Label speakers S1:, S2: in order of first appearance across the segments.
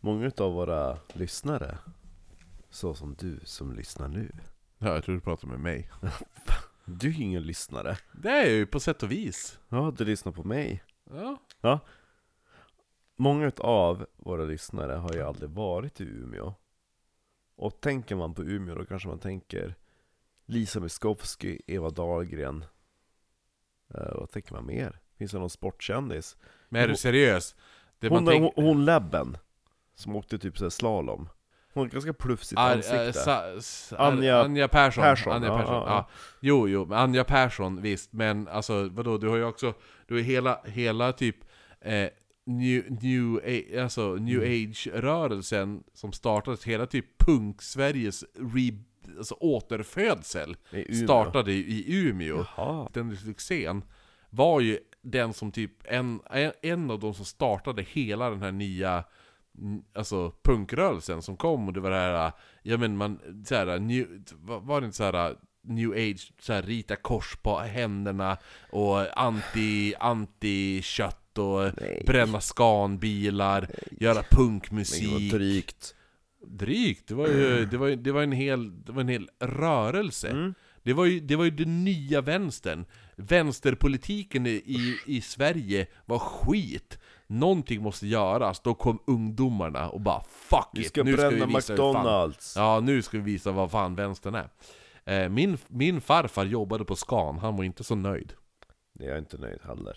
S1: många av våra lyssnare, så som du som lyssnar nu,
S2: Ja, jag tror du pratar med mig.
S1: du är ju ingen lyssnare.
S2: Det är jag ju på sätt och vis.
S1: Ja, du lyssnar på mig.
S2: Ja.
S1: Många av våra lyssnare har ju aldrig varit i Umeå. Och tänker man på Umeå då kanske man tänker Lisa Miskovsky, Eva Dahlgren. Eh, vad tänker man mer? Finns det någon sportkändis?
S2: Men är du seriös? Det
S1: Hon,
S2: man
S1: hon,
S2: tänk-
S1: hon Läbben, som åkte typ så här slalom. Hon har ganska plufsigt
S2: Ar-
S1: ansikte.
S2: äh, sa- s- Ar-
S1: Anja
S2: Anja Persson.
S1: Persson,
S2: Anja
S1: ja,
S2: Persson.
S1: ja,
S2: Ja,
S1: ja.
S2: Jo, jo, men Anja Persson visst, men alltså vadå, du har ju också, du har ju hela, hela typ eh, New, new, a- alltså, new
S1: Mm.
S2: Age-rörelsen som startade, hela typ punk-Sveriges re, alltså, återfödsel
S1: I Umeå.
S2: startade i, i Umeå.
S1: Jaha.
S2: Den succén var ju den som typ, en, en, en av de som startade hela den här nya mm, Alltså punkrörelsen som kom och det var det här, ja men man, så här, new, var var det inte så här new age, så här, rita kors på händerna och anti, anti-kött och
S1: Nej.
S2: bränna skanbilar, göra
S1: Men gud
S2: punkmusik.
S1: vad drygt.
S2: Drygt, det var ju, det var, ju- det var en hel, det var en hel rörelse.
S1: Mm.
S2: Det var, ju, det var ju den nya vänstern. Vänsterpolitiken i, i, i Sverige var skit. Någonting måste göras. Då kom ungdomarna och bara 'Fuck
S1: Vi
S2: it!
S1: ska
S2: nu
S1: bränna
S2: visa hur fan-
S1: McDonalds.
S2: Ja, nu ska vi visa vad fan vänstern är. Eh, Min, min farfar jobbade på Scan, han var inte så nöjd.
S1: Nej, jag är inte nöjd heller.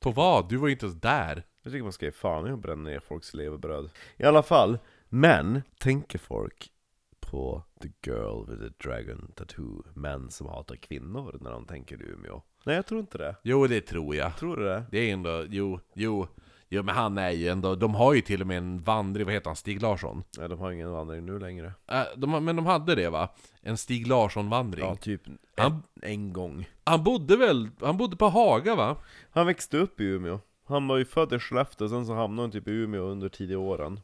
S2: På vad? Du var ju inte ens där.
S1: Jag tycker man ska ge fan i att bränna ner folks levebröd. I alla fall, men tänker folk på the girl with the dragon tattoo, män som hatar kvinnor när de tänker Umeå? Nej, jag tror inte det.
S2: Jo, det tror jag.
S1: Tror du det?
S2: Det är ändå, jo, jo. Jo men han är ju ändå, de har ju till och med en vandring, vad heter han, Stig Larsson?
S1: Nej, de har ingen vandring nu längre.
S2: Äh, de, har- men de hade det va? En Stig Larsson-vandring.
S1: Ja, typ en,
S2: Han-
S1: en gång.
S2: Han bodde väl, han bodde på Haga va?
S1: Han växte upp i Umeå. Han var ju född i Skellefteå, sen så hamnade han typ i Umeå under tidiga åren.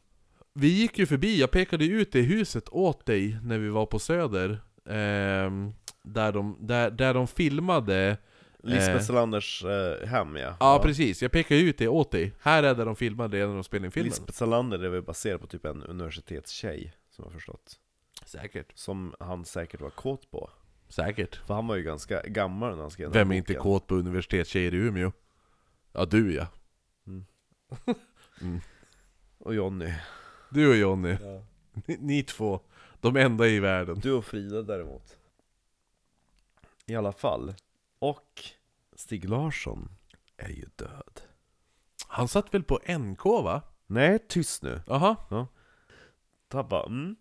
S2: Vi gick ju förbi, jag pekade ut det huset åt dig när vi var på Söder. Ehm, där, de, där, där de filmade
S1: Lisbeth Salanders eh, hem ja.
S2: Ja precis, jag pekade ut det åt dig. Här är där de filmade det när de spelade in filmen.
S1: Lisbeth Salander är väl baserad på typ en universitetstjej, som jag har förstått.
S2: Säkert.
S1: Som han säkert var kåt på.
S2: Säkert.
S1: För han var ju ganska gammal när han skrev den här
S2: Vem är inte
S1: boken.
S2: kåt på universitetstjejer i Umeå? Ja, du ja.
S1: Och Jonny.
S2: Du och Jonny. Ni, ni två. De enda i världen.
S1: Du och Frida däremot. I alla fall. Och Stig Larsson är ju död.
S2: Han satt väl på NK va?
S1: Nej, tyst nu.
S2: Jaha.
S1: Tabba, mm.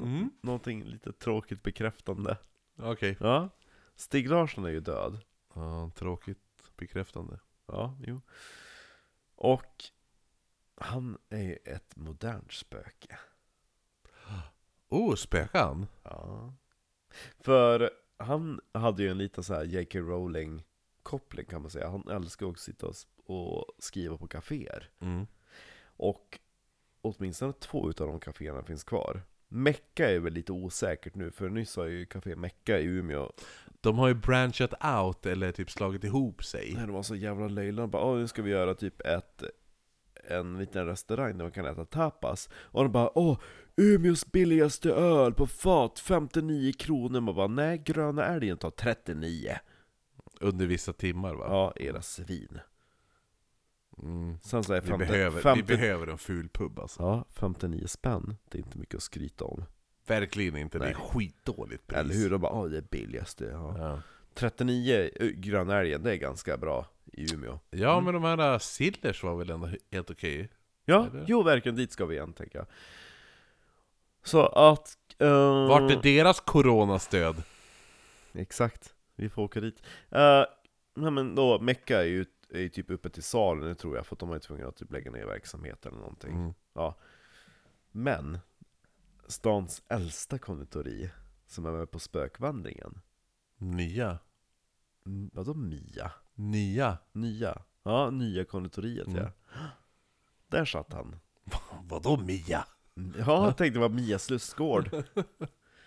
S2: Mm.
S1: Någonting lite tråkigt bekräftande.
S2: Okej.
S1: Ja. Stig Larsson är ju död.
S2: Ja, tråkigt bekräftande.
S1: Ja, jo. Och han är ju ett modernt spöke.
S2: Oh, spökan?
S1: Ja. För han hade ju en liten så här J.K. Rowling-koppling kan man säga. Han älskar också att sitta och s- och skriva på kaféer.
S2: Mm.
S1: Och åtminstone två utav de kaféerna finns kvar. Mecka är väl lite osäkert nu, för nyss har ju Café Mecka i Umeå
S2: De har ju branchat out, eller typ slagit ihop sig.
S1: Nej, de var så jävla löjliga. De bara, åh nu ska vi göra typ ett, en liten restaurang där man kan äta tapas. Och de bara, åh, Umeås billigaste öl på fat, 59 kronor. Man bara, nej, gröna älgen tar 39.
S2: Under vissa timmar va?
S1: Ja, era svin.
S2: Mm.
S1: Sen så är
S2: Vi,
S1: 50,
S2: behöver,
S1: 50,
S2: vi behöver en ful pub alltså.
S1: Ja, 59 spänn, det är inte mycket att skryta om.
S2: Verkligen inte, det
S1: Nej.
S2: är skitdåligt pris.
S1: Eller hur? De bara, åh det är billigaste. Ja.
S2: Ja,
S1: 39 ö, gröna älgen, det är ganska bra i Umeå.
S2: ja men de här äh, Sillers var väl ändå helt okej?
S1: Mm. Ja,
S2: Eller?
S1: jo verkligen, dit ska vi igen tänker jag. Så att... eh,
S2: Vart är deras coronastöd?
S1: Exakt, vi får åka dit. Eh, nej men då, Mecka är ju, är ju typ uppe till salen nu tror jag, för att de var ju tvungna att typ lägga ner verksamheten eller någonting.
S2: Mm.
S1: Ja. Men, stans äldsta konditori, som är med på spökvandringen,
S2: Nya.
S1: mm, vadå Mia?
S2: Nya?
S1: Nya? Ja, nya konditoriet
S2: Mm.
S1: ja. Där satt han.
S2: Vadå Mia?
S1: Ja, jag tänkte det var Mia Slussgård.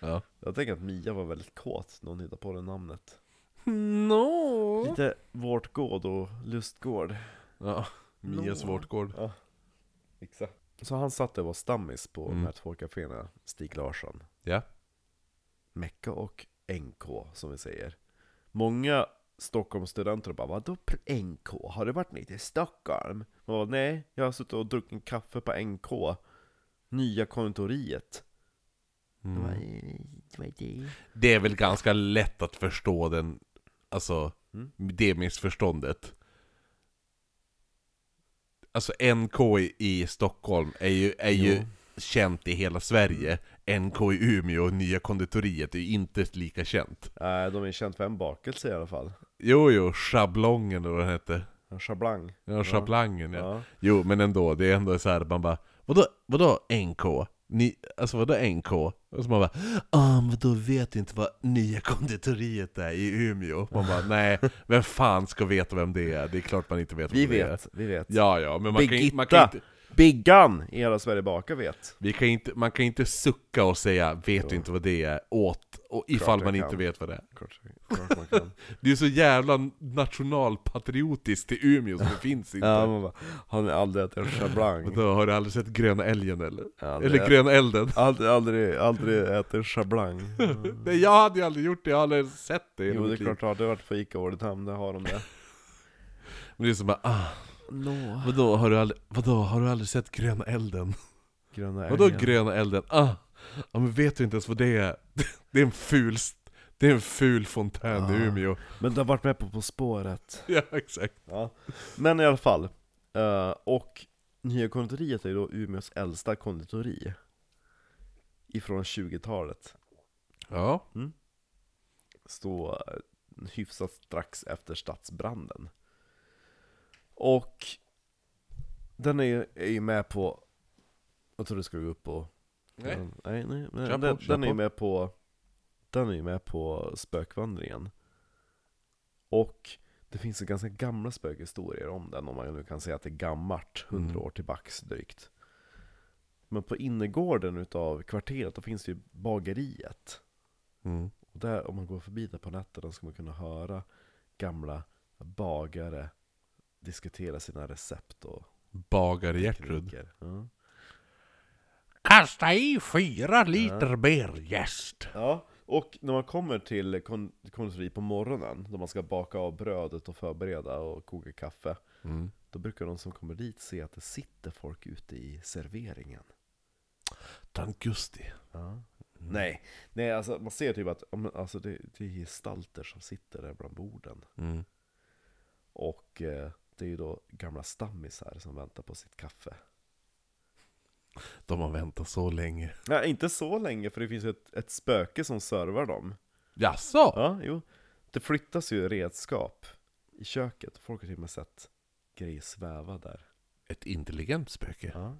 S2: Ja.
S1: Jag tänker att Mia var väldigt kåt, när hon hittade på det namnet.
S2: No.
S1: Lite vårtgård och lustgård.
S2: Ja, Mias
S1: No.
S2: vårtgård.
S1: Ja, exakt. Så han satt och var stammis på de här
S2: Mm.
S1: två kaféerna, Stig Larsson.
S2: Ja.
S1: Mecka och NK som vi säger. Många Stockholmsstudenter bara Vadå pr- NK? Har du varit nere i Stockholm? Man bara, Nej, jag har suttit och druckit en kaffe på NK. Nya konditoriet.
S2: Mm.
S1: Vad är- vad är det?
S2: Det är väl ganska lätt att förstå den, alltså,
S1: Mm.
S2: det missförståndet. Alltså NK i, i Stockholm är ju, är ju
S1: Jo.
S2: känt i hela Sverige. NK i Umeå och Nya Konditoriet är ju inte lika känt.
S1: Nej, de är känt för en bakelse i alla fall.
S2: Jo, jo, schablongen eller vad den hette.
S1: En schablang.
S2: Ja, schablangen ja.
S1: Ja.
S2: Jo, men ändå, det är ändå så här, man bara Vadå, vadå NK? Ni, alltså vadå NK? Och så man bara ah, men då vet du inte vad nya konditoriet är i Umeå? Man bara nej, vem fan ska veta vem det är? Det är klart man inte vet
S1: Vi
S2: vem det är
S1: vet, vi vet.
S2: Ja, ja, men man kan, ju- man kan
S1: Birgitta.
S2: inte
S1: Biggan i hela Sverige bakar vet.
S2: vi kan inte, man kan inte sucka och säga 'Vet du inte vad det är?' åt, och ifall
S1: jag
S2: man inte
S1: kan.
S2: vet vad det är.
S1: Klart, klart man kan.
S2: Det är så jävla nationalpatriotiskt till Umeå som det finns inte.
S1: ja, man bara, har ni aldrig ätit en
S2: Men
S1: schablang?
S2: då har du aldrig sett Gröna Älgen eller?
S1: Aldrig,
S2: Eller Gröna Elden?
S1: aldrig, aldrig, aldrig ätit en schablang.
S2: Nej jag hade ju aldrig gjort det, jag har aldrig sett det i
S1: Jo
S2: hela
S1: det är
S2: mitt liv.
S1: klart, har du varit på Ica Ålidhem, där har de det.
S2: Men det är som bara, ah,
S1: Nå.
S2: vadå har, du aldrig, vadå har du aldrig sett gröna elden?
S1: Gröna
S2: Vadå
S1: älgen.
S2: gröna elden? Ah, ja men vet du inte ens vad det är? Det är en ful, st- det är en ful fontän i
S1: Ah.
S2: Umeå.
S1: Men du har varit med på På spåret.
S2: Ja exakt.
S1: Ja. Men i alla fall. eh, och Nya konditoriet är ju då Umeås äldsta konditori. Ifrån 20-talet.
S2: Ja,
S1: stå eh, hyfsat strax efter stadsbranden. Och den är ju, är ju med på, jag tror det ska gå upp på
S2: Nej.
S1: Den, Mm. nej, nej men
S2: Kör på,
S1: den,
S2: kör
S1: den är ju
S2: på.
S1: med på Den är ju med på spökvandringen. Och det finns ju ganska gamla spökhistorier om den, om man nu kan säga att det är gammalt, 100
S2: Mm.
S1: år tillbaks drygt. Men på innergården utav kvarteret, då finns det ju bageriet.
S2: mm.
S1: Och där, om man går förbi där på nätterna ska man kunna höra gamla bagare diskutera sina recept och
S2: bagar Gertrud.
S1: tekniker. Ja.
S2: Kasta i fyra liter bergäst.
S1: ja, och när man kommer till kon- konditori på morgonen, då man ska baka av brödet och förbereda och koka kaffe,
S2: Mm.
S1: då brukar de som kommer dit se att det sitter folk ute i serveringen.
S2: Tant Gusti.
S1: Ja. Nej, nej alltså man ser typ att ja, men alltså, det, det är gestalter som sitter där bland borden.
S2: Mm.
S1: Och eh, det är ju då gamla stammisar som väntar på sitt kaffe.
S2: De har väntat så länge.
S1: Nej, inte så länge för det finns ju ett, ett spöke som servar dem.
S2: Jaså?
S1: Ja, jo. Det flyttas ju redskap i köket. Folk har till och med sett grejer sväva där.
S2: Ett intelligent spöke.
S1: Ja.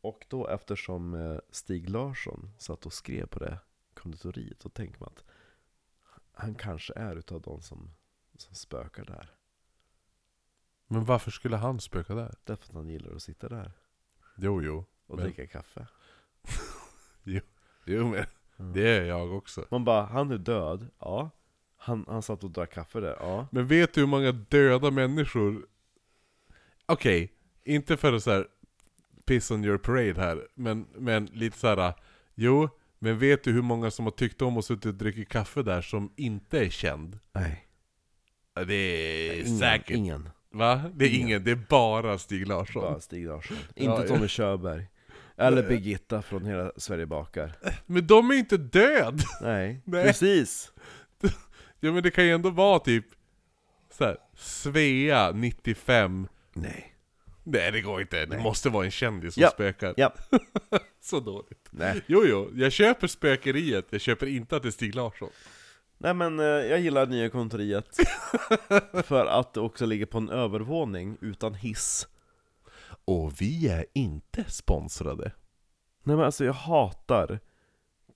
S1: Och då eftersom eh, Stig Larsson satt och skrev på det konditoriet, då tänker man att han kanske är utav de som, som spökar där.
S2: Men varför skulle han spöka där?
S1: Därför att han gillar att sitta där
S2: Jo, jo.
S1: och
S2: Men-
S1: dricka kaffe.
S2: Jo, men det är jag också.
S1: Man bara, han är död, ja. Han, han satt och drack kaffe där, ja.
S2: Men vet du hur många döda människor... Okej, inte för att så här piss on your parade här, men, men lite så här. Jo, men vet du hur många som har tyckt om att suttit och druckit kaffe där som inte är känd?
S1: Nej,
S2: Ja, Det är
S1: ingen.
S2: säkert.
S1: ingen.
S2: Va? Det är
S1: Ingen.
S2: ingen. det är bara Stig Larsson.
S1: Bara Stig Larsson.
S2: Ja,
S1: Inte
S2: ja.
S1: Tommy Körberg. Eller Birgitta från Hela Sverige bakar.
S2: Men de är inte död!
S1: Nej,
S2: Nej.
S1: precis.
S2: Ja men det kan ju ändå vara typ så här, Svea 95
S1: Nej.
S2: Nej det går inte, det måste vara en kändis som
S1: Ja.
S2: spökar.
S1: Ja.
S2: Så dåligt.
S1: Nej.
S2: Jo, jo, jag köper spökeriet, jag köper inte att det är Stig Larsson.
S1: Nej men eh, jag gillar nya kontoriet. För att det också ligger på en övervåning utan hiss.
S2: Och vi är inte sponsrade.
S1: Nej men alltså jag hatar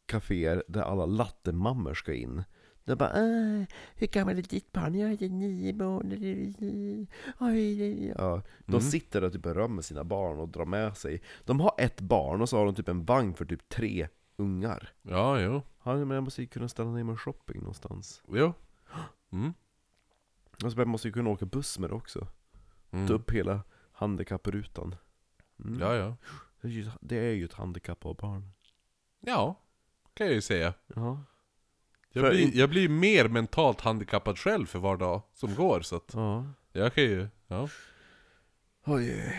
S1: kaféer där alla lattemammor ska in. De bara äh, hur gammal är ditt barn? Jag är nio månader. Oj, oj, oj." Ja, de
S2: Mm.
S1: sitter där och typ berömmer sina barn och drar med sig. De har ett barn och så har de typ en vagn för typ tre ungar.
S2: Ja, jo.
S1: Ja, men jag måste ju kunna ställa ner mig shopping någonstans.
S2: Jo. Mm.
S1: Alltså, jag måste ju kunna åka buss med det också.
S2: Mm.
S1: Ta upp hela handikapprutan. Mm.
S2: Ja, ja.
S1: Det är ju- Det är ju ett handikapp av barn.
S2: Ja, kan jag ju säga.
S1: Ja.
S2: Jag
S1: För
S2: blir,
S1: in-
S2: jag blir mer mentalt handikappad själv för var dag som går, så att
S1: ja.
S2: jag kan ju... Ja.
S1: Oj.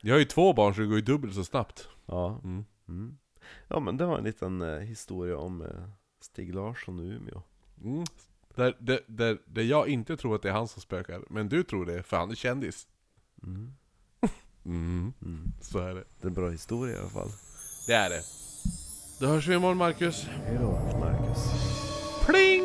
S2: Jag har ju två barn så det går ju dubbelt så snabbt.
S1: Ja.
S2: Mm.
S1: Mm. ja, men det var en liten eh, historia om eh, Stig Larsson i Umeå.
S2: Mm. Där, där, där, där jag inte tror att det är han som spökar, men du tror det, för han är kändis.
S1: Mm.
S2: Mm.
S1: Mm.
S2: Så är det.
S1: Det är en bra historia i alla fall.
S2: Det är det. Då hörs vi imorgon Marcus.
S1: Hej då, Marcus.
S2: Pling!